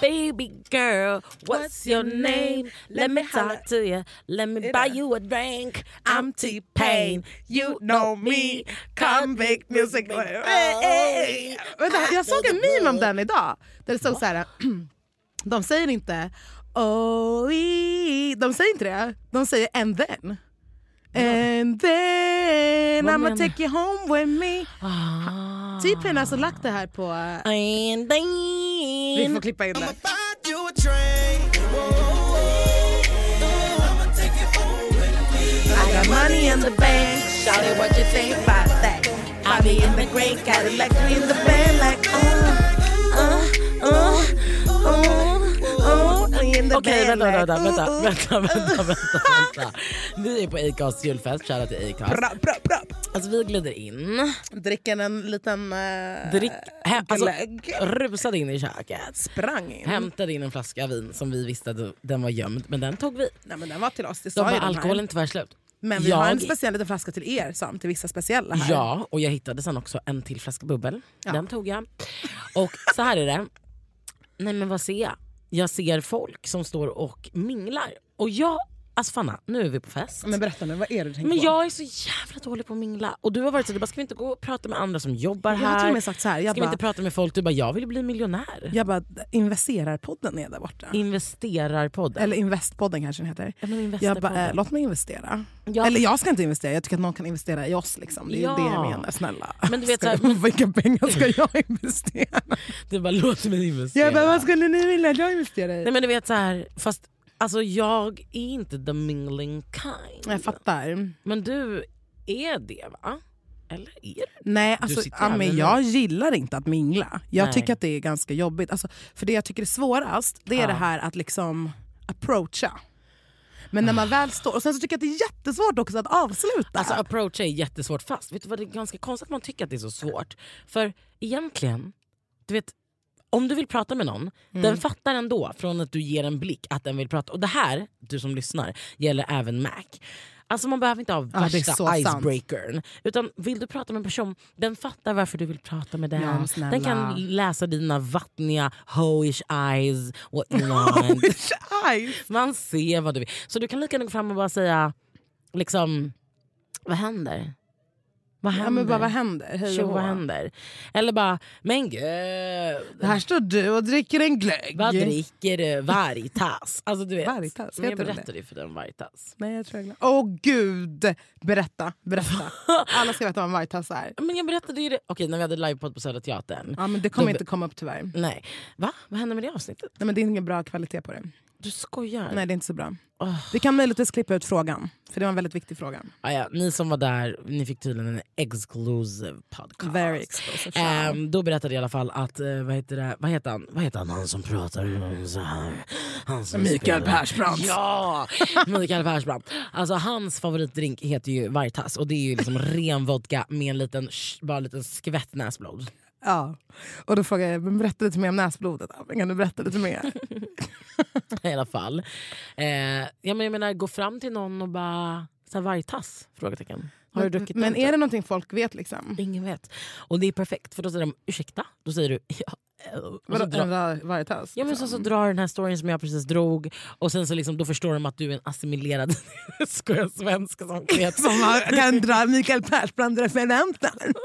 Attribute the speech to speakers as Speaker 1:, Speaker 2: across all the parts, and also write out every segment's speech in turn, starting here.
Speaker 1: baby girl, what's, your name? Let me talk to you. Let me buy you a drink. I'm T Pain. You know me. Convict music.
Speaker 2: Hey! Vänta, jag såg en meme om den idag. Där det stod så här. De säger inte oh, i- de säger inte det. De säger and then. And then
Speaker 1: Vad
Speaker 2: I'mma
Speaker 1: menar-
Speaker 2: take you home with me.
Speaker 1: Ah.
Speaker 2: Typ har alltså lagt det här på...
Speaker 1: And
Speaker 2: Vi
Speaker 1: then.
Speaker 2: får klippa in det.
Speaker 1: I got money in the bank. Shout it what you think about that. I be in the great Cadillac in the band like uh, uh, uh, uh, uh, in the
Speaker 2: Okej,
Speaker 1: band like,
Speaker 2: vänta, vänta, vänta,
Speaker 1: uh, uh.
Speaker 3: Vänta, vänta, vänta, vänta. Vi är på Acast julfest, shoutout till Acast.
Speaker 2: Bra, bra, bra.
Speaker 3: Alltså vi glider in,
Speaker 2: Dricker en liten... eh,
Speaker 3: drick, he, alltså,
Speaker 2: glögg.
Speaker 3: rusade in i köket.
Speaker 2: Sprang in.
Speaker 3: Hämtade in en flaska vin som vi visste att den var gömd, men den tog vi.
Speaker 2: Nej, men den var till oss, det
Speaker 3: De
Speaker 2: sa
Speaker 3: bara,
Speaker 2: ju de här.
Speaker 3: alkoholen tyvärr slut.
Speaker 2: Men vi
Speaker 3: Jag-
Speaker 2: har en speciell liten flaska till er, sa han, till vissa speciella här.
Speaker 3: Ja, och jag hittade sen också en till flaska bubbel.
Speaker 2: Ja.
Speaker 3: Den tog jag. Och så här är det. Nej men vad ser jag? Jag ser folk som står och minglar. Och jag, alltså Fanna, nu är vi på fest.
Speaker 2: Men berätta nu, vad är det du tänker
Speaker 3: Men
Speaker 2: på?
Speaker 3: jag är så jävla dålig på att mingla. Och du har varit så du bara, ska vi inte gå och prata med andra som jobbar
Speaker 2: jag har till och
Speaker 3: här?
Speaker 2: med sagt så här, jag
Speaker 3: Ska vi
Speaker 2: bara,
Speaker 3: inte prata med folk? Du bara, jag vill bli miljonär.
Speaker 2: jag bara investerarpodden är där borta.
Speaker 3: Investerarpodden.
Speaker 2: Eller investpodden kanske den heter.
Speaker 3: Ja, men
Speaker 2: Jag
Speaker 3: investerarpodden.
Speaker 2: bara, eh, låt mig investera.
Speaker 3: Ja.
Speaker 2: Eller jag ska inte investera, jag tycker att någon kan investera i oss. Liksom. Det är
Speaker 3: Ja.
Speaker 2: ju det jag menar, snälla.
Speaker 3: Men du vet
Speaker 2: Ska
Speaker 3: så här-
Speaker 2: jag- Vilka pengar ska jag investera?
Speaker 3: Du bara, låt mig investera.
Speaker 2: Jag bara, vad skulle ni vilja att jag investerar i?
Speaker 3: Nej men du vet så här, fast alltså jag är inte the mingling kind.
Speaker 2: Jag fattar.
Speaker 3: Men du är det va? Eller är du?
Speaker 2: Nej, alltså,
Speaker 3: sitter
Speaker 2: ja,
Speaker 3: här
Speaker 2: men
Speaker 3: nu.
Speaker 2: jag gillar inte att mingla. Jag
Speaker 3: Nej.
Speaker 2: tycker att det är ganska jobbigt. Alltså, för det jag tycker är svårast, det är det här att liksom approacha. Men när man väl står... Och sen så tycker jag att det är jättesvårt också att avsluta.
Speaker 3: Alltså approach är jättesvårt fast vet du vad det är ganska konstigt att man tycker att det är så svårt. För egentligen, du vet om du vill prata med någon,
Speaker 2: Mm.
Speaker 3: den fattar ändå från att du ger en blick att den vill prata. Och det här, du som lyssnar, gäller även Mac. Alltså man behöver inte ha
Speaker 2: Ja, det är så
Speaker 3: värsta
Speaker 2: sant.
Speaker 3: icebreakern. Utan vill du prata med en person, den fattar varför du vill prata med den.
Speaker 2: Ja, snälla.
Speaker 3: den kan läsa dina vattniga hoish eyes, what you want. Man ser vad du vill. Så du kan lika gärna gå fram och bara säga, liksom, vad händer? Vad händer?
Speaker 2: ja, men bara, vad händer? Hej
Speaker 3: Tjo,
Speaker 2: och
Speaker 3: vad
Speaker 2: hå.
Speaker 3: händer? Eller bara, men gud,
Speaker 2: Här står du och dricker en glögg.
Speaker 3: vad dricker du? Vargtass. Alltså du vet.
Speaker 2: Vargtass,
Speaker 3: Men jag
Speaker 2: heter den det?
Speaker 3: berättade ju för dig om vargtass.
Speaker 2: Nej, jag tror jag glömde. Åh gud! Berätta, berätta. Alla ska veta vad en vargtass är.
Speaker 3: Men jag berättade ju det, okej när vi hade livepodd på Södra Teatern.
Speaker 2: Ja, men det kommer
Speaker 3: Då-
Speaker 2: inte komma upp tyvärr. Nej,
Speaker 3: Nej, va? Vad hände med det avsnittet?
Speaker 2: men det är ingen bra kvalitet på det.
Speaker 3: Du skojar?
Speaker 2: Nej, det är inte så bra.
Speaker 3: Åh.
Speaker 2: Vi kan möjligtvis klippa ut frågan, för det var en väldigt viktig fråga.
Speaker 3: Ah, ja. Ni som var där, ni fick tydligen en exclusive podcast.
Speaker 2: Very explosive. show.
Speaker 3: Ehm, då berättade jag i alla fall att, eh, vad heter det, vad heter han, vad heter han, han som pratar så här? Han som
Speaker 2: Mikael
Speaker 3: spelar-
Speaker 2: Persbrandt.
Speaker 3: Ja! Mikael Persbrandt. Alltså hans favoritdrink heter ju Vargtass och det är ju liksom ren vodka med en liten, sh- bara en liten skvätt näsblod.
Speaker 2: Ja. Och då frågade jag, men berätta lite mer om näsblodet. Ja, men Kan du berätta lite mer?
Speaker 3: I alla fall. Eh, ja, men jag menar gå fram till någon och bara, så här, Vargtass? Frågetecken. Har du druckit
Speaker 2: men
Speaker 3: den?
Speaker 2: är det någonting folk vet liksom?
Speaker 3: Ingen vet. Och det är perfekt för då säger de ursäkta, då säger du ja. eh", och så
Speaker 2: Vadå, liksom?
Speaker 3: drar-
Speaker 2: en var- vargtass?
Speaker 3: Ja men så, så drar den här storyn som jag precis drog och sen så liksom, då förstår de att du är en assimilerad skoja, svenska som vet.
Speaker 2: Som man kan dra Mikael Persbrandt-referenten.
Speaker 3: Typ.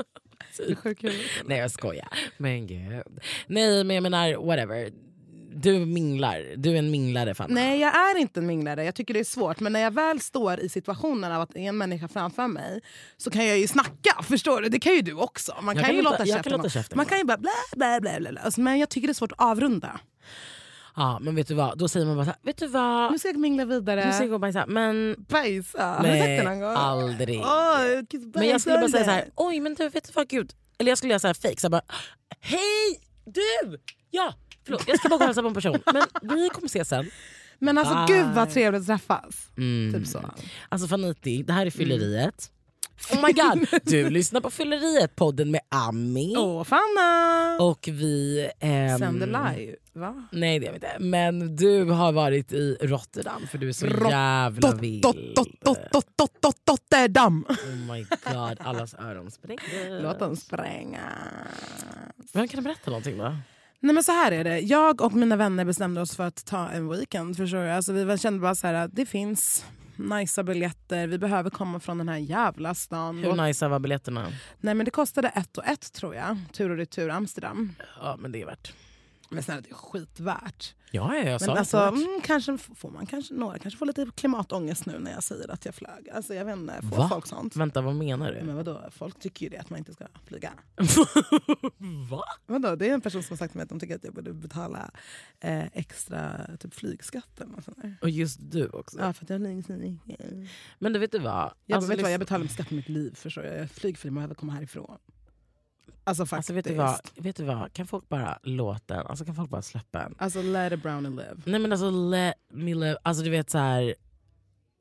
Speaker 2: Det är sjukt kul.
Speaker 3: Nej jag skojar. Men gud. Nej men jag menar whatever. Du minglar, du är en minglare Fanna.
Speaker 2: Nej, jag är inte en minglare. Jag tycker det är svårt. Men när jag väl står i situationen av att det är en människa framför mig så kan jag ju snacka. Förstår du? Det kan ju du också.
Speaker 3: Jag
Speaker 2: Man kan,
Speaker 3: kan
Speaker 2: ju
Speaker 3: låta-
Speaker 2: låta,
Speaker 3: jag
Speaker 2: käften
Speaker 3: kan låta
Speaker 2: gå.
Speaker 3: käften
Speaker 2: Man
Speaker 3: gå.
Speaker 2: kan ju bara blä, blä, blä, blä, blä. Alltså, Men jag tycker det är svårt att avrunda.
Speaker 3: Ja men vet du vad, då säger man bara så här, vet du vad.
Speaker 2: Nu ska jag mingla vidare.
Speaker 3: Nu ska jag gå och bajsa. Men
Speaker 2: Bajsa. Har du sagt
Speaker 3: nej
Speaker 2: det någon gång?
Speaker 3: aldrig.
Speaker 2: Åh, kiss
Speaker 3: Men jag skulle bara säga så
Speaker 2: bajsande.
Speaker 3: här, oj men du vet du vad gud. Eller jag skulle göra så här fake, så här bara, hej du! Ja, förlåt jag ska bara gå och hälsa på en person. Men vi kommer ses sen.
Speaker 2: Men alltså
Speaker 3: Bye.
Speaker 2: gud vad trevligt att träffas. Typ så.
Speaker 3: Alltså Faniti, det här är Fylleriet. Oh my god, du lyssnar på Fylleriet, podden med Ami.
Speaker 2: Åh Fanna!
Speaker 3: Och vi... ehm,
Speaker 2: Sänder live va?
Speaker 3: Nej det gör vi inte. Men du har varit i Rotterdam för du är så jävla vild.
Speaker 2: Dotterdam!
Speaker 3: Oh my god, allas öron sprängdes.
Speaker 2: Låt den spränga.
Speaker 3: Men kan du berätta någonting då?
Speaker 2: Nej men så här är det, jag och mina vänner bestämde oss för att ta en weekend. Förstår du? Alltså, vi var- kände bara så här, att det finns nicea biljetter, vi behöver komma från den här jävla stan. Och-
Speaker 3: Hur nice var biljetterna?
Speaker 2: Nej men det kostade ett och ett tror jag, tur och retur Amsterdam.
Speaker 3: Ja, men det är värt.
Speaker 2: Men snälla det är skitvärt.
Speaker 3: Ja, ja, jag sa
Speaker 2: Men
Speaker 3: det.
Speaker 2: alltså,
Speaker 3: Värt.
Speaker 2: mm, kanske f- får man kanske, några kanske får lite klimatångest nu när jag säger att jag flög. Alltså jag vet inte, får
Speaker 3: Va?
Speaker 2: folk sånt?
Speaker 3: Vänta, vad menar du?
Speaker 2: Men vadå, folk tycker ju det att man inte ska flyga.
Speaker 3: Va?
Speaker 2: Vadå, det är en person som har sagt till mig att de tycker att jag borde betala eh, extra typ, flygskatt eller något sånt där.
Speaker 3: Och just du också.
Speaker 2: Ja, för att jag har länge sedan. Jag
Speaker 3: Men du vet du vad?
Speaker 2: bara, vet du vad,
Speaker 3: Alltså, lyssna-
Speaker 2: jag betalar med skatt på mitt liv förstår jag. Jag är flygfri, man behöver komma härifrån. Alltså faktiskt.
Speaker 3: Alltså vet du, vad, vet du vad, kan folk bara låta en, alltså kan folk bara släppa en?
Speaker 2: Alltså let it brown and live.
Speaker 3: Nej men alltså let me live, alltså du vet så här.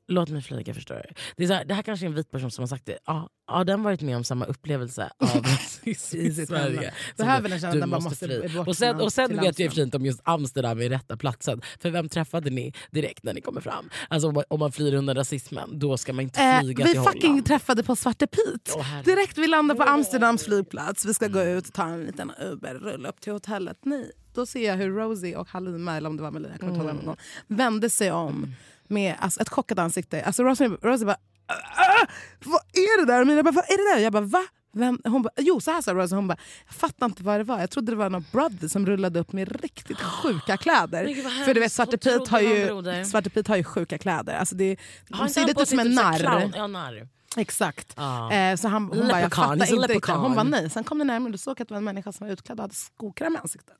Speaker 3: låt mig flyga förstår du. Det, är så här, det här kanske är en vit person som har sagt det, ja, har den varit med om samma upplevelse av rasism
Speaker 2: I
Speaker 3: i
Speaker 2: sitt
Speaker 3: Sverige?
Speaker 2: hemland.
Speaker 3: Så
Speaker 2: Behöver
Speaker 3: du-
Speaker 2: den känna
Speaker 3: du
Speaker 2: att den bara måste
Speaker 3: fly.
Speaker 2: bort
Speaker 3: Och sen,
Speaker 2: från-
Speaker 3: och sen
Speaker 2: till
Speaker 3: vet jag i och för sig
Speaker 2: Amsterdam.
Speaker 3: inte om just Amsterdam är rätta platsen, för vem träffade ni direkt när ni kommer fram? Alltså om man, om man flyr undan rasismen, då ska man inte
Speaker 2: Eh,
Speaker 3: flyga
Speaker 2: vi
Speaker 3: till
Speaker 2: fucking
Speaker 3: Holland.
Speaker 2: träffade på Svarte Pit.
Speaker 3: Åh, herregud.
Speaker 2: Direkt vi landar på Amsterdams flygplats, vi ska gå ut, ta en liten Uber, rulla upp till hotellet. Nej, då ser jag hur Rosie och Halima, eller om det var Melina, jag kommer inte ihåg
Speaker 3: Mm.
Speaker 2: vem det var, vände sig om med alltså, ett chockat ansikte. Alltså, Rosie, Rosie bara... "Ah, Vad är det där? Och Melina bara, vad är det där? Jag bara, va? Vem? Hon bara, jo, så här sa Rosie. Hon bara, jag fattar inte vad det var. Jag trodde det var någon brother som rullade upp med riktigt sjuka
Speaker 3: Ah, Men
Speaker 2: kläder.
Speaker 3: gud, vad
Speaker 2: För du vet,
Speaker 3: hemskt.
Speaker 2: Svarte
Speaker 3: Hon
Speaker 2: Pit
Speaker 3: trodde
Speaker 2: har
Speaker 3: det var en
Speaker 2: ju,
Speaker 3: broder.
Speaker 2: Svarte Pit har ju sjuka kläder. Alltså, det,
Speaker 3: Har
Speaker 2: de
Speaker 3: inte
Speaker 2: ser
Speaker 3: han på
Speaker 2: lite
Speaker 3: sig
Speaker 2: som en
Speaker 3: typ så här
Speaker 2: narr.
Speaker 3: clown? Ja, narr.
Speaker 2: Exakt.
Speaker 3: Ja.
Speaker 2: Eh, så han, hon bara, jag
Speaker 3: Leprechaun, he's a
Speaker 2: fattar inte riktigt.
Speaker 3: leprechaun.
Speaker 2: Hon bara nej. Sen kom det närmare och du såg att det var en människa som var utklädd och hade skokräm i ansiktet.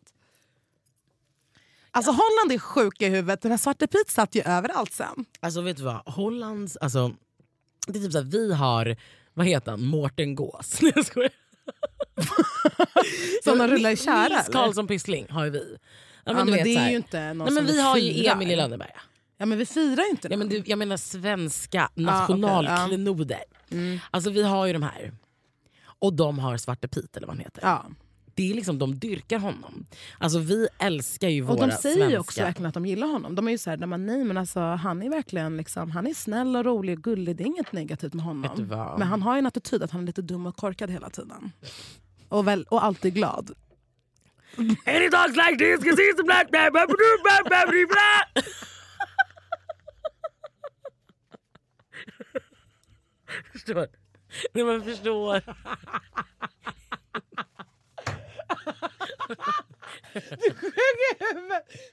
Speaker 2: Alltså Holland är sjuk i huvudet. Den här Svarte Pit satt ju överallt sen.
Speaker 3: Alltså vet du vad, Hollands, alltså, det är typ såhär, vi har, vad heter han, Mårten Gås. Nej jag skojar.
Speaker 2: Som de rullar i
Speaker 3: Nils-
Speaker 2: tjära,
Speaker 3: Nils
Speaker 2: eller?
Speaker 3: Karlsson Pyssling har ju vi. Ja,
Speaker 2: Ja,
Speaker 3: men,
Speaker 2: men
Speaker 3: du vet,
Speaker 2: det
Speaker 3: så
Speaker 2: är
Speaker 3: här.
Speaker 2: ju inte någon
Speaker 3: Nej, men
Speaker 2: som
Speaker 3: Vi har ju
Speaker 2: firar.
Speaker 3: Emil i Lönneberga.
Speaker 2: Ja men vi firar ju inte
Speaker 3: Ja,
Speaker 2: någon.
Speaker 3: men du, jag menar svenska
Speaker 2: ja.
Speaker 3: nationalklenoder.
Speaker 2: Mm.
Speaker 3: Alltså vi har ju de här. Och de har Svarte Pit eller vad han heter.
Speaker 2: ja.
Speaker 3: Det är liksom, de dyrkar honom. Alltså vi älskar ju
Speaker 2: Och
Speaker 3: våra
Speaker 2: de säger
Speaker 3: svenska.
Speaker 2: ju också verkligen att de gillar honom. De är ju såhär, de bara, nej men alltså han är verkligen liksom, han är snäll och rolig och gullig. Det är inget negativt med
Speaker 3: Vet du
Speaker 2: honom.
Speaker 3: vad?
Speaker 2: Men han har ju en attityd att han är lite dum och korkad hela tiden. Och, väl, och alltid glad.
Speaker 3: Any dogs like this can see some black blah, blah, blah, blah, blah, blah. Förstår? Nej men förstår.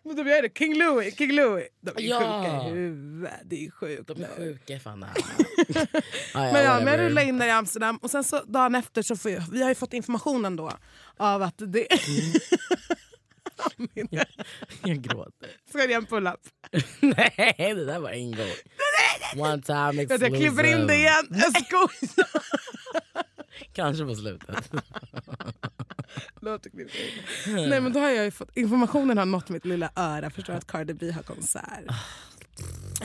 Speaker 2: Men de är det. King Louie, King Louie. De är
Speaker 3: Ja.
Speaker 2: sjuka i huvudet. Det är sjukt.
Speaker 3: De är sjuka fan. ah,
Speaker 2: Men ja, men jag rullade in där i Amsterdam och sen så dagen efter så får jag, vi har ju fått informationen då av att det... Mm.
Speaker 3: Jag gråter.
Speaker 2: Ska jag göra en pull-up?
Speaker 3: Nej det där var en gång. One time
Speaker 2: Jag
Speaker 3: exclusive.
Speaker 2: klipper in det igen. Jag skojar.
Speaker 3: Kanske på slutet.
Speaker 2: Låt det klippa in. Nej men då har jag ju fått, informationen har nått mitt lilla öra. Förstår att Cardi B har konsert.
Speaker 3: Ah.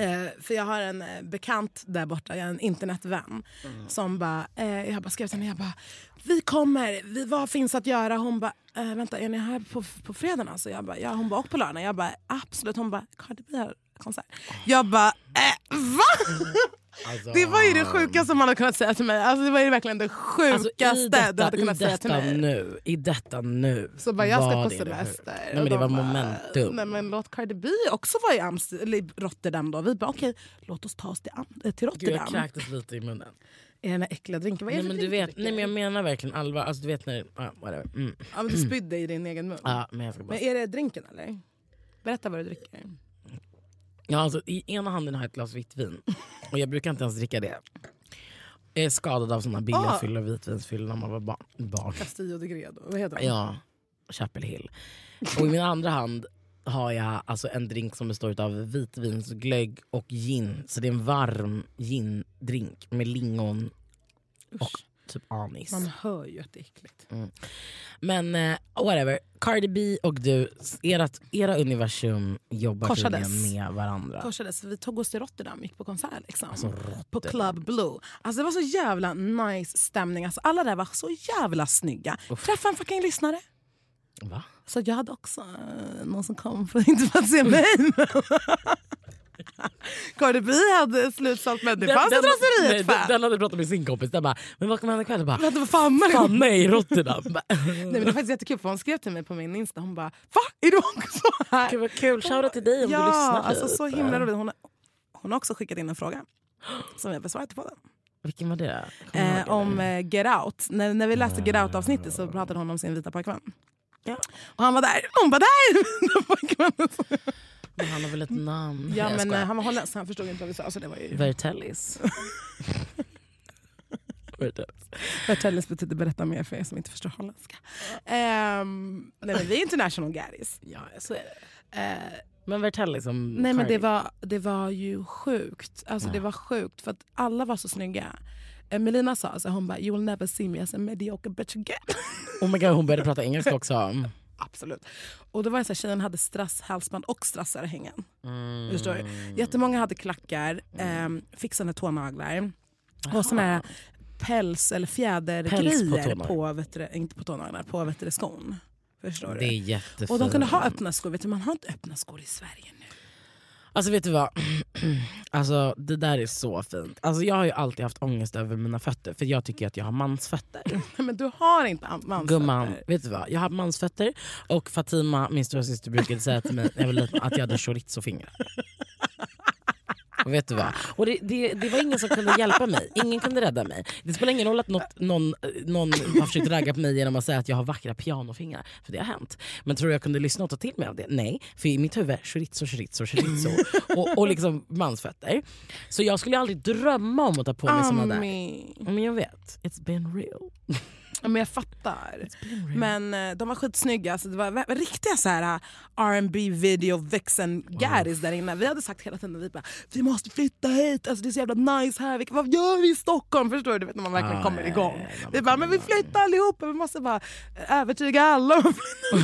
Speaker 2: Eh, för jag har en eh, bekant där borta, jag är en internetvän.
Speaker 3: Mm.
Speaker 2: Som bara, eh, jag bara skrev till henne, jag bara, vi kommer, vi, vad finns att göra? Hon bara, eh, vänta är ni här på, på fredagen? Alltså, jag bara, ja, hon bara, och på lördagen? Jag bara, absolut. Hon bara, Cardi B har konsert. Jag bara, eh, va?
Speaker 3: Alltså,
Speaker 2: Det var ju det sjukaste man hade kunnat säga till mig. Alltså, det var ju verkligen det
Speaker 3: Alltså,
Speaker 2: sjukaste
Speaker 3: i
Speaker 2: du
Speaker 3: detta,
Speaker 2: hade kunnat
Speaker 3: i
Speaker 2: säga till
Speaker 3: detta
Speaker 2: mig.
Speaker 3: nu, I detta nu.
Speaker 2: Så bara, jag ska
Speaker 3: var
Speaker 2: på
Speaker 3: det det
Speaker 2: semester.
Speaker 3: sjuka.
Speaker 2: Och
Speaker 3: Nej, men det
Speaker 2: de
Speaker 3: var
Speaker 2: bara,
Speaker 3: momentum.
Speaker 2: Nej, men låt Cardi B också vara i, Amst- eller i Rotterdam då. Vi bara okej, låt oss ta oss till, Am- eh, till
Speaker 3: Gud, jag
Speaker 2: Rotterdam.
Speaker 3: kräktes lite i munnen.
Speaker 2: I den här äckliga drinken. Vad
Speaker 3: Nej
Speaker 2: är det
Speaker 3: men,
Speaker 2: för
Speaker 3: du
Speaker 2: drink
Speaker 3: vet, nej men jag menar verkligen allvar. Alltså, du vet när... Ah, whatever. Mm. Ah,
Speaker 2: dricker? ja, men du spydde i din egen mun.
Speaker 3: Ja, men jag ska bara...
Speaker 2: Men är det drinken eller? Berätta vad du dricker.
Speaker 3: ja, alltså, I ena handen har jag ett glas vitt vin. Och jag brukar inte ens dricka det. Jag är skadad av såna billiga
Speaker 2: Ah.
Speaker 3: fyllor och vitvinsfyllor när man var barn. barn.
Speaker 2: Castillo de Gredo. Vad heter den?
Speaker 3: Ja, Chapel Hill. Och i min andra hand har jag alltså en drink som består av vitvinsglögg och gin. Så det är en varm gindrink med lingon och typ anis.
Speaker 2: Man hör ju att det är äckligt.
Speaker 3: Men eh, whatever, Cardi B och du, ert, era universum jobbar
Speaker 2: Korsades.
Speaker 3: tydligen med varandra.
Speaker 2: korsades. för Vi tog oss till Rotterdam gick på konsert. Liksom.
Speaker 3: Alltså, Rotterdam.
Speaker 2: på Club Blue. Alltså, det var så jävla nice stämning. Alltså, alla där var så jävla snygga. Träffade en fucking lyssnare.
Speaker 3: Va?
Speaker 2: Så jag hade också eh, någon som kom för, inte för att se mig. men- Cardi B hade slutsålt men det
Speaker 3: Den-
Speaker 2: fanns i
Speaker 3: den-
Speaker 2: traseriet
Speaker 3: nej, den-
Speaker 2: fan.
Speaker 3: Den hade pratat med sin kompis. Den bara, men vad kommer hända ikväll? Jag bara,
Speaker 2: Vänta, vad fan är det?
Speaker 3: fan nej, Rotterdam.
Speaker 2: Nej, men det var faktiskt jättekul för hon skrev till mig på min Insta. Hon bara va? Är du också här?
Speaker 3: Gud vad kul, shoutout till dig om du
Speaker 2: ja,
Speaker 3: lyssnar.
Speaker 2: alltså så
Speaker 3: typ.
Speaker 2: himla roligt. Hon, har- hon har också skickat in en fråga som jag besvarat på den.
Speaker 3: Vilken var det? Kommer du ihåg
Speaker 2: Eh,
Speaker 3: det?
Speaker 2: om eh, Get Out. När, när vi läste Get Out-avsnittet så pratade hon om sin vita pojkvän.
Speaker 3: Ja.
Speaker 2: Och han var där. Hon bara, där är mina pojkvän!
Speaker 3: Men han har väl ett namn?
Speaker 2: Ja,
Speaker 3: jag
Speaker 2: men eh,
Speaker 3: skojar.
Speaker 2: han var holländsk så han förstod inte vad vi sa. Så det var ju...
Speaker 3: Vertellis. Vertellis.
Speaker 2: Vertellis betyder berätta mer för er som inte förstår holländska. Ehm, nej, men vi är international gaddies.
Speaker 3: Ja, så är det.
Speaker 2: Eh,
Speaker 3: Men Vertellis som
Speaker 2: Nej men det
Speaker 3: Cardi.
Speaker 2: var, det var ju sjukt. Alltså det var sjukt för att alla var så snygga. Eh, Melina sa så här, hon bara “you'll never see me as a mediocre bitch again”.
Speaker 3: Oh my god, hon började prata engelska också. Mm.
Speaker 2: Absolut. Och då var det så här, tjejen hade strasshalsband och strassarhängen. Förstår du? Jättemånga hade klackar, ehm, fixade tånaglar och såna här päls eller fjädergrejer
Speaker 3: Päls på
Speaker 2: på,
Speaker 3: tånaglar.
Speaker 2: vet du, inte på tånaglar, på vet du, skon. Förstår
Speaker 3: Det är
Speaker 2: du?
Speaker 3: jättefint.
Speaker 2: Och de kunde ha öppna skor, vet du, man har inte öppna skor i Sverige nu.
Speaker 3: Alltså vet du vad? Alltså det där är så fint. Alltså jag har ju alltid haft ångest över mina fötter för jag tycker att jag har mansfötter.
Speaker 2: Nej, Men du har inte an- mansfötter.
Speaker 3: Gumman, vet du vad? Jag har mansfötter och Fatima, min stora syster brukade säga till mig när jag var liten att jag hade chorizofingrar. Och vet du vad? Och det, det, det var ingen som kunde hjälpa mig. Ingen kunde rädda mig. Det spelar ingen roll att något, någon, eh, någon har försökt ragga på mig genom att säga att jag har vackra pianofingrar. För det har hänt. Men tror du jag kunde lyssna och ta till mig av det? Nej, för i mitt huvud, chorizo, chorizo, chorizo. Och, och liksom mansfötter. Så jag skulle aldrig drömma om att ta på
Speaker 2: Ah,
Speaker 3: mig såna där.
Speaker 2: Ami.
Speaker 3: Men jag vet, it's been real.
Speaker 2: Ja, men jag fattar. Men eh, de var skitsnygga. Alltså, det var vä- riktiga så här eh, R&B video vixen garis där inne. Vi hade sagt hela tiden vi bara, vi måste flytta hit, alltså, det är så jävla nice här. Vi, vad gör vi i Stockholm? Förstår du? du vet, när man verkligen
Speaker 3: Ah,
Speaker 2: kommer
Speaker 3: ja,
Speaker 2: igång.
Speaker 3: ja, ja,
Speaker 2: vi bara, men vi flyttar allihopa. Vi måste bara eh, övertyga alla. om att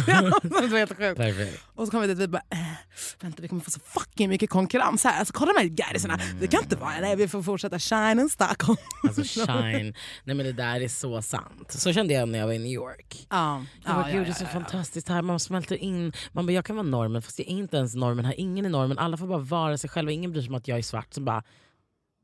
Speaker 2: flytta. det var helt sjukt.
Speaker 3: Perfekt.
Speaker 2: Och så kom vi dit vi bara, äh, vänta vi kommer få så fucking mycket konkurrens här. Alltså kolla de här garisarna.
Speaker 3: Mm.
Speaker 2: Vi kan inte vara, nej vi får fortsätta shine in Stockholm.
Speaker 3: Alltså shine. Nej men det där är så sant. Så kände jag när jag var i New York.
Speaker 2: Ja,
Speaker 3: Jag
Speaker 2: ja,
Speaker 3: bara,
Speaker 2: ja,
Speaker 3: gud det är
Speaker 2: ja,
Speaker 3: så
Speaker 2: ja.
Speaker 3: fantastiskt här, man smälter in. Man bara, jag kan vara normen fast jag är inte ens normen här. Ingen är normen, alla får bara vara sig själva. Ingen bryr sig om att jag är svart. Så bara,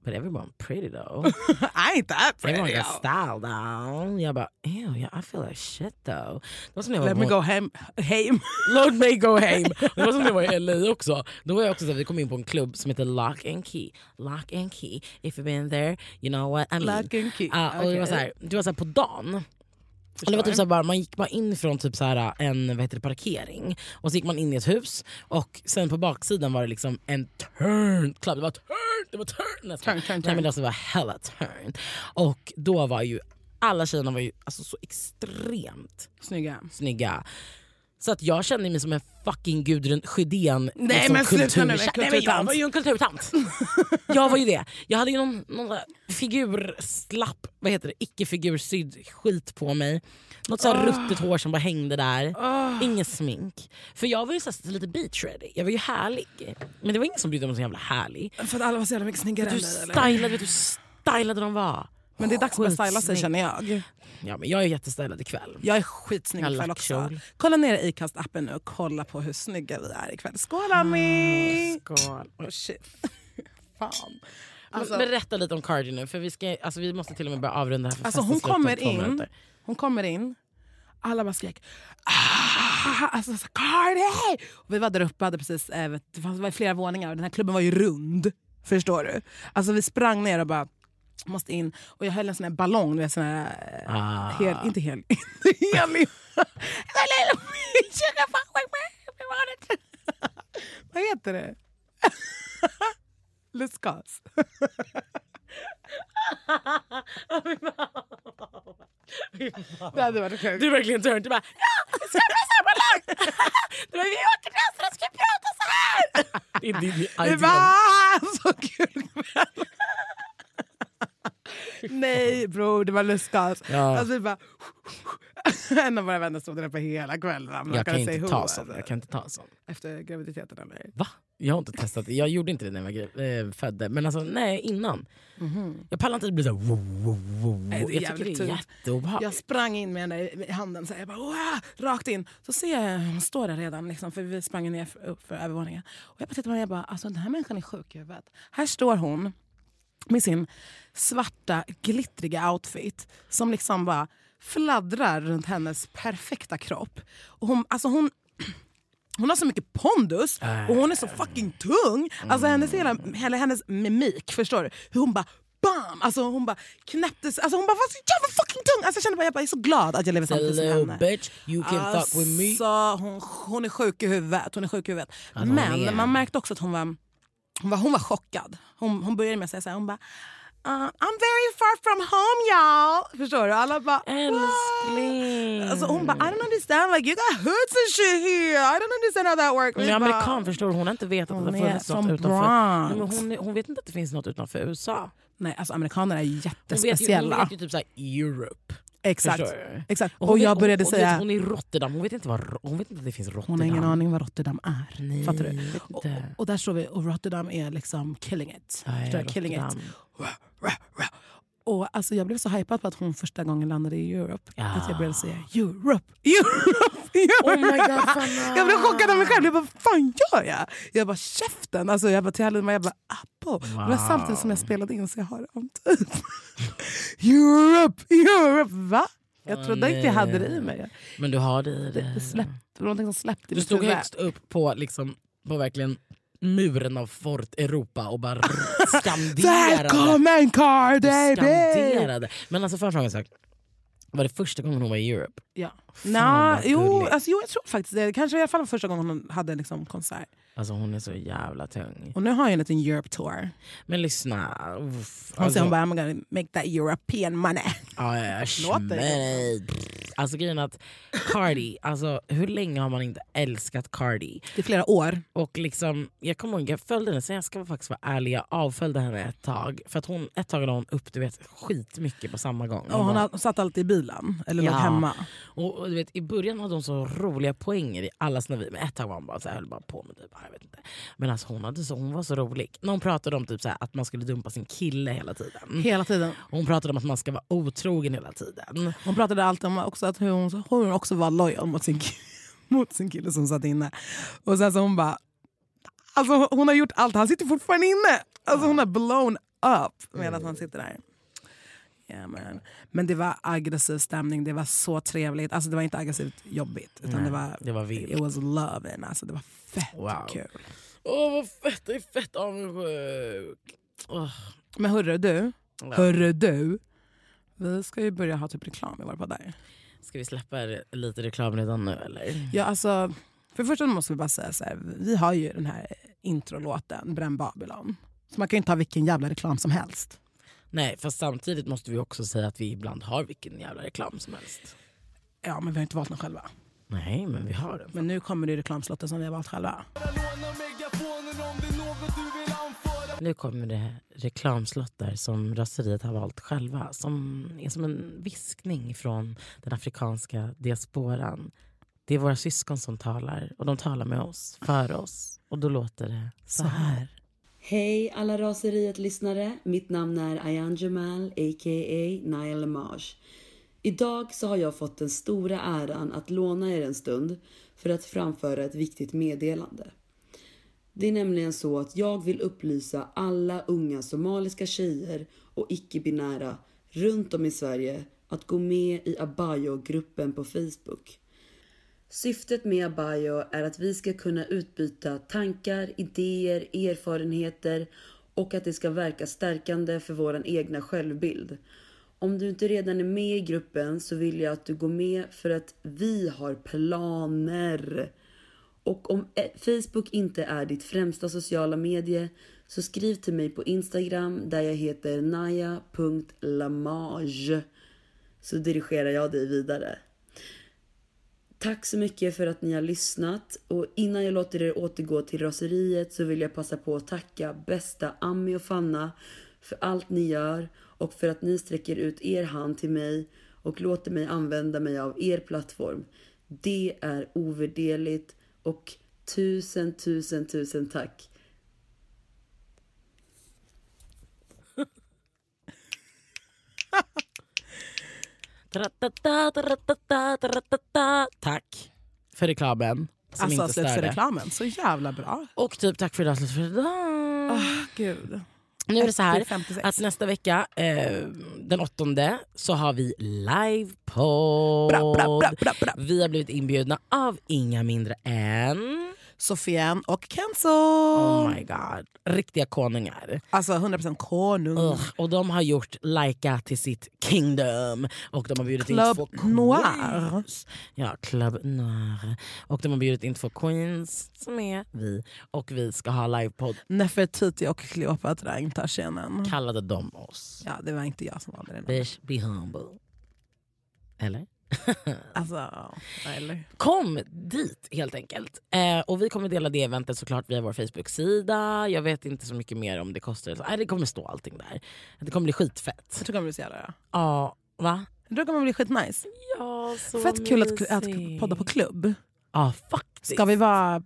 Speaker 3: but everyone pretty though.
Speaker 2: I ain't that
Speaker 3: Everyone
Speaker 2: pretty.
Speaker 3: got style though. Jag bara, ew, yeah, I feel like shit though. Det var som när jag var
Speaker 2: Let
Speaker 3: på-
Speaker 2: me go hem. hem.
Speaker 3: Låt mig go home. Det var som när jag var i LA också. Då var jag också så här, vi kom in på en klubb som heter Lock and Key. Lock and Key, if you've been there, you know what I mean.
Speaker 2: Lock and key.
Speaker 3: Ja, och det var, så här, det var så här på dagen. Och Det var typ så här bara, man gick bara in från typ så här en vad heter det, parkering och så gick man in i ett hus och sen på baksidan var det liksom en turn club. Det var turn, det var turn. nästan.
Speaker 2: Turn, turn,
Speaker 3: Nej, men
Speaker 2: turn.
Speaker 3: alltså det var hella turn. Och då var ju alla tjejerna var ju alltså, så extremt
Speaker 2: Snygga.
Speaker 3: snygga. Så att jag kände mig som en fucking Gudrun Sjödén
Speaker 2: Nej,
Speaker 3: liksom,
Speaker 2: men sluta nu,
Speaker 3: kultur-
Speaker 2: en
Speaker 3: Nej, men jag
Speaker 2: kulturtant.
Speaker 3: var ju en kulturtant. jag var ju det. Jag hade ju någon, någon där figurslapp, vad heter det, icke-figursydd skit på mig. Något så här
Speaker 2: Ah.
Speaker 3: ruttet hår som bara hängde där. Inget smink. För jag var ju så här, lite beach ready. Jag var ju härlig. Men det var ingen som brydde sig om så jävla härlig.
Speaker 2: För att alla var så jävla mycket snyggare
Speaker 3: Du
Speaker 2: än dig, eller?
Speaker 3: stylade, vet du stylade de var.
Speaker 2: Men det är dags att börja styla sig
Speaker 3: Skitsnygg.
Speaker 2: känner jag.
Speaker 3: Ja, men jag är jättestylad ikväll.
Speaker 2: Jag är skitsnygg
Speaker 3: Jag
Speaker 2: ikväll
Speaker 3: lack
Speaker 2: också.
Speaker 3: kjol.
Speaker 2: Kolla ner i Acast-appen nu och kolla på hur snygga vi är ikväll. Skål Ami!
Speaker 3: Ah, Skål.
Speaker 2: Oh, shit. Fan. Alltså,
Speaker 3: Men berätta lite om Cardi nu, för vi, ska, alltså, vi måste till och med börja avrunda här. För
Speaker 2: alltså
Speaker 3: festen
Speaker 2: hon
Speaker 3: slutar om
Speaker 2: kommer
Speaker 3: två
Speaker 2: in.
Speaker 3: minuter.
Speaker 2: Hon kommer in. Alla bara skrek ah, alltså, så, Cardi! Och vi var där uppe, hade precis, eh, vet- det fanns- det var flera våningar och den här klubben var ju rund. Förstår du? Alltså vi sprang ner och bara måste in. Och jag höll en sån här ballong, du vet, sån här, eh,
Speaker 3: Ah.
Speaker 2: Hel, inte hel. Inte helig. Vad heter det? Lustgas. Det hade varit sjukt.
Speaker 3: Du är verkligen törn. Du bara ja, ska vi samma lag? Du bara vi åker till Östra ska vi prata så här. Det är din
Speaker 2: Det
Speaker 3: idé.
Speaker 2: var så kul kväll. Nej bror, det var lustgas.
Speaker 3: Ja.
Speaker 2: Alltså, vi bara... En av våra vänner stod där på hela kvällen. Man
Speaker 3: Jag kan
Speaker 2: kunde säga
Speaker 3: inte
Speaker 2: ho,
Speaker 3: ta sån.
Speaker 2: alltså.
Speaker 3: Jag kan inte ta sån.
Speaker 2: Efter graviditeten eller?
Speaker 3: Va? Jag har inte testat, jag gjorde inte det när jag var gre- eh, födde, men alltså nej innan. Jag pallar inte att det blir såhär wow, wow, wow.
Speaker 2: det är
Speaker 3: Jag tycker
Speaker 2: jävligt
Speaker 3: Mhm. det är
Speaker 2: tungt. Jag
Speaker 3: jätteobehagligt.
Speaker 2: sprang in med den där i handen så här, jag bara, "Wow!" rakt in. Så ser jag hon står där redan, liksom, för vi sprang ner för, upp för övervåningen. Och jag bara tittar på henne jag bara, alltså den här människan är sjuk i huvudet. Här står hon med sin svarta glittriga outfit som liksom bara fladdrar runt hennes perfekta kropp. Och hon, alltså hon, hon har så mycket pondus och hon är
Speaker 3: Äh.
Speaker 2: så fucking tung.
Speaker 3: Mm.
Speaker 2: Alltså hennes, hela, hela hennes mimik, förstår du? Hur hon bara bam! Alltså hon bara knäppte sig. Alltså hon bara var så jävla fucking tung! Alltså jag kände bara, jag bara är så glad att jag lever samtidigt som
Speaker 3: Hello
Speaker 2: henne.
Speaker 3: bitch, you can fuck with me.
Speaker 2: Alltså, hon, hon är sjuk i huvudet. Hon är sjuk i huvudet.
Speaker 3: hon är.
Speaker 2: Men man märkte också att hon var, hon var, hon var chockad. Hon, hon började med att säga så här, hon bara "Uh, I'm very far from home y'all. Förstår du? Alla bara "Wow."
Speaker 3: Älskling.
Speaker 2: Alltså hon bara I don't understand like you got hoods and shit here. I don't understand how that works.
Speaker 3: Hon är amerikan förstår du, hon har inte vetat att
Speaker 2: Hon
Speaker 3: det
Speaker 2: är
Speaker 3: funnits något
Speaker 2: från
Speaker 3: utanför.
Speaker 2: Bronx.
Speaker 3: Nej, men hon, är- hon vet inte att det finns något utanför USA.
Speaker 2: Nej alltså amerikaner är
Speaker 3: Hon vet ju, hon
Speaker 2: jättespeciella.
Speaker 3: vet ju typ såhär Europe.
Speaker 2: Exakt.
Speaker 3: Förstår du?
Speaker 2: Exakt. Och,
Speaker 3: hon vet-
Speaker 2: jag började
Speaker 3: hon,
Speaker 2: säga
Speaker 3: Hon, vet, hon är i Rotterdam, hon vet inte, vad, Ro- hon vet inte att det finns Rotterdam.
Speaker 2: Hon har ingen aning vad Rotterdam är.
Speaker 3: Nej,
Speaker 2: Fattar du?
Speaker 3: jag vet
Speaker 2: Och,
Speaker 3: inte.
Speaker 2: och där står vi och Rotterdam är liksom killing it.
Speaker 3: Nej,
Speaker 2: Förstår du? killing it.
Speaker 3: Rotterdam.
Speaker 2: Rah, rah, rah. Och alltså, jag blev så hypad på att hon första gången landade i Europe.
Speaker 3: Ja.
Speaker 2: Att jag började säga Europe, Europe, Europe.
Speaker 3: Oh my God, Sanna.
Speaker 2: jag blev chockad av mig själv. Jag bara, vad fan gör jag? Jag bara, käften. Alltså, jag bara, till Halima, jag bara, appo. Det var samtidigt som jag spelade in så jag har det om typ. Europe, Europe, va? Jag
Speaker 3: Åh,
Speaker 2: trodde inte jag hade det i
Speaker 3: nej.
Speaker 2: mig.
Speaker 3: Men du har det i
Speaker 2: Det, det,
Speaker 3: dig.
Speaker 2: släppte, det var någonting som släppte i
Speaker 3: Du
Speaker 2: mitt
Speaker 3: stod
Speaker 2: huvud.
Speaker 3: högst upp på, liksom, på verkligen muren av Fort Europa och bara skanderade.
Speaker 2: Välkommen
Speaker 3: Du
Speaker 2: Cardi!
Speaker 3: skanderade. Men alltså för en sak. Var det första gången hon var i Europe?
Speaker 2: Ja.
Speaker 3: Fan,
Speaker 2: Nå,
Speaker 3: vad
Speaker 2: jo,
Speaker 3: gulligt.
Speaker 2: alltså, jo, jag tror faktiskt det. Kanske i alla fall var första gången hon hade liksom konsert.
Speaker 3: Alltså hon är så jävla tung.
Speaker 2: Och nu har jag en liten Europe tour.
Speaker 3: Men lyssna. Uff, alltså-
Speaker 2: Hon säger hon "Ah, bara I'm gonna make that European money.
Speaker 3: Ja, ja, ja,
Speaker 2: Låter
Speaker 3: smäll. Alltså grejen är att Cardi, alltså hur länge har man inte älskat Cardi?
Speaker 2: I flera år.
Speaker 3: Och liksom, jag kommer ihåg, jag följde henne, så jag ska faktiskt vara ärlig, jag avföljde henne ett tag. För att hon, ett tag la hon upp du vet, skitmycket på samma gång.
Speaker 2: Och
Speaker 3: Hon
Speaker 2: hon
Speaker 3: bara-
Speaker 2: har- satt alltid i bilen eller
Speaker 3: Ja.
Speaker 2: låg hemma.
Speaker 3: Och, och du vet, I början hade hon så roliga poänger i alla sina videor. Men ett tag var hon bara, så här, höll bara på med typ, jag vet inte. Men alltså, hon, hade så, hon var så rolig. När hon pratade om typ, så här, att man skulle dumpa sin kille hela tiden.
Speaker 2: Hela tiden.
Speaker 3: Hon pratade om att man ska vara otrogen hela tiden.
Speaker 2: Hon pratade alltid om också att hur hon, hon också var lojal mot sin, ki- mot sin kille som satt inne. Och sen så hon bara... Alltså hon har gjort allt, han sitter fortfarande inne! Alltså hon har blown up medan han sitter där. Ja, men. men det var aggressiv stämning, det var så trevligt. Alltså det var inte aggressivt jobbigt. Utan det var,
Speaker 3: det var vilt.
Speaker 2: It was loving. Alltså det var fett
Speaker 3: Wow.
Speaker 2: kul.
Speaker 3: Åh vad fett, jag är fett avundsjuk. Åh.
Speaker 2: Men hörru du,
Speaker 3: Ja.
Speaker 2: hörru du. Vi ska ju börja ha typ reklam i våra poddar.
Speaker 3: Ska vi släppa er lite reklam redan nu eller?
Speaker 2: Ja, alltså, för det första måste vi bara säga så här, vi har ju den här introlåten Bränn Babylon. Så man kan ju inte ha vilken jävla reklam som helst.
Speaker 3: Nej, fast samtidigt måste vi också säga att vi ibland har vilken jävla reklam som helst.
Speaker 2: Ja, men vi har inte valt den själva.
Speaker 3: Nej, men vi har den.
Speaker 2: Men nu kommer det ju reklamslotten som vi har valt själva.
Speaker 3: Nu kommer det reklamslottar som raseriet har valt själva. Som är som en viskning från den afrikanska diasporan. Det är våra syskon som talar och de talar med oss, för oss. Och då låter det så här.
Speaker 4: Hej alla Raseriet-lyssnare. Mitt namn är Ayan Jamal, a.k.a. Niall Lamage. Idag så har jag fått den stora äran att låna er en stund för att framföra ett viktigt meddelande. Det är nämligen så att jag vill upplysa alla unga somaliska tjejer och icke-binära runt om i Sverige att gå med i Abayo-gruppen på Facebook. Syftet med Abayo är att vi ska kunna utbyta tankar, idéer, erfarenheter och att det ska verka stärkande för vår egna självbild. Om du inte redan är med i gruppen så vill jag att du går med för att vi har planer. Och om eh, Facebook inte är ditt främsta sociala medie så skriv till mig på Instagram där jag heter naya.lamage så dirigerar jag dig vidare. Tack så mycket för att ni har lyssnat och innan jag låter er återgå till raseriet så vill jag passa på att tacka bästa Ami och Fanna för allt ni gör och för att ni sträcker ut er hand till mig och låter mig använda mig av er plattform. Det är ovärderligt och tusen, tusen, tusen tack.
Speaker 3: Taratata, taratata, taratata. Tack för reklamen. Som
Speaker 2: Alltså
Speaker 3: inte
Speaker 2: slut för
Speaker 3: störde.
Speaker 2: reklamen, så jävla bra.
Speaker 3: Och typ tack för idag, slut för idag.
Speaker 2: Ah, gud.
Speaker 3: Nu är det så här
Speaker 2: 56.
Speaker 3: att nästa vecka, eh, den åttonde, så har vi livepodd.
Speaker 2: Bra, bra, bra, bra, bra.
Speaker 3: Vi har blivit inbjudna av inga mindre än...
Speaker 2: Sofian och Kenzo.
Speaker 3: Oh my god. Riktiga konungar.
Speaker 2: Alltså 100% konung.
Speaker 3: Ugh, och de har gjort Laika till sitt kingdom. Och de har bjudit in
Speaker 2: Club
Speaker 3: två queens.
Speaker 2: Noir.
Speaker 3: Ja, Club Noir. Och de har bjudit in två queens som är vi. Och vi ska ha livepodd.
Speaker 2: Nefertiti och Kleopatra intar scenen.
Speaker 3: Kallade de oss.
Speaker 2: Ja, det var inte jag som valde den.
Speaker 3: Bitch, be humble. Eller?
Speaker 2: Alltså, eller?
Speaker 3: Kom dit helt enkelt. Eh, och vi kommer dela det eventet såklart via vår Facebook-sida. Jag vet inte så mycket mer om det kostar. Nej, det kommer stå allting där. Det kommer bli skitfett.
Speaker 2: Jag tror det kommer bli så jävla bra.
Speaker 3: Ja, va?
Speaker 2: Jag tror det kommer bli skitnice.
Speaker 3: Ja, så
Speaker 2: Fett kul att, att
Speaker 3: mysigt.
Speaker 2: podda på klubb.
Speaker 3: Ja, faktiskt.
Speaker 2: Ska vi vara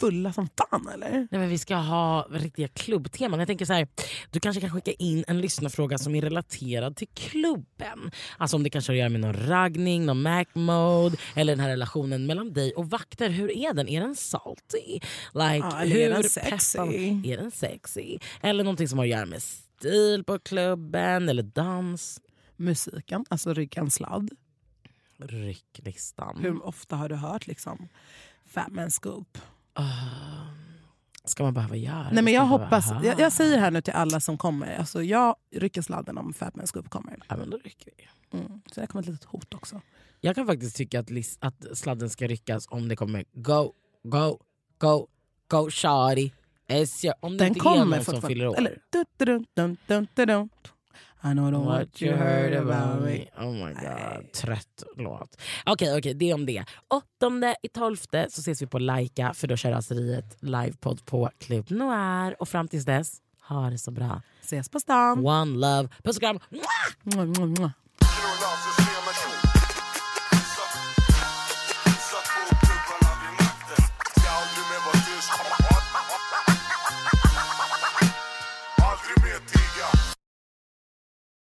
Speaker 2: fulla som fan eller?
Speaker 3: Nej, men vi ska ha riktiga klubbteman. Jag tänker så här, du kanske kan skicka in en lyssnarfråga som är relaterad till klubben. Alltså om det kanske har att göra med någon raggning, någon mac mode eller den här relationen mellan dig och vakter. Hur är den? Är den salty? Like,
Speaker 2: Ja, eller
Speaker 3: hur
Speaker 2: är den sexy?
Speaker 3: peppad- Är den sexy? Eller någonting som har att göra med stil på klubben eller dans.
Speaker 2: Musiken, alltså ryggansladd.
Speaker 3: Rycklistan.
Speaker 2: Hur ofta har du hört liksom Fat Man Scoop?
Speaker 3: Ah. ska man behöva göra?
Speaker 2: Nej, men
Speaker 3: Ska
Speaker 2: jag,
Speaker 3: man behöva
Speaker 2: hoppas,
Speaker 3: höra?
Speaker 2: jag, jag säger här nu till alla som kommer, alltså jag rycker sladden om Fat Man Scoop kommer.
Speaker 3: Ja, men då rycker vi.
Speaker 2: Mm. Så det kommer ett litet hot också.
Speaker 3: Jag kan faktiskt tycka att, lis- att sladden ska ryckas om det kommer go, go, go, go shawty. Yes, ja. Om det
Speaker 2: Den
Speaker 3: inte är
Speaker 2: kommer
Speaker 3: någon som fyller
Speaker 2: fortfarande.
Speaker 3: år.
Speaker 2: Eller, dun, dun, dun, dun, dun, dun. I know what you heard about me.
Speaker 3: Oh my god, trött låt. Okej, okej, det är om det. Åttonde i tolfte så ses vi på Laika för då kör Raseriet livepodd på Club Noir. Och fram tills dess, ha det så bra.
Speaker 2: Ses på stan.
Speaker 3: One love. Puss och kram. Mwah!
Speaker 2: Mwah, mwah, mwah.
Speaker 5: General Lawson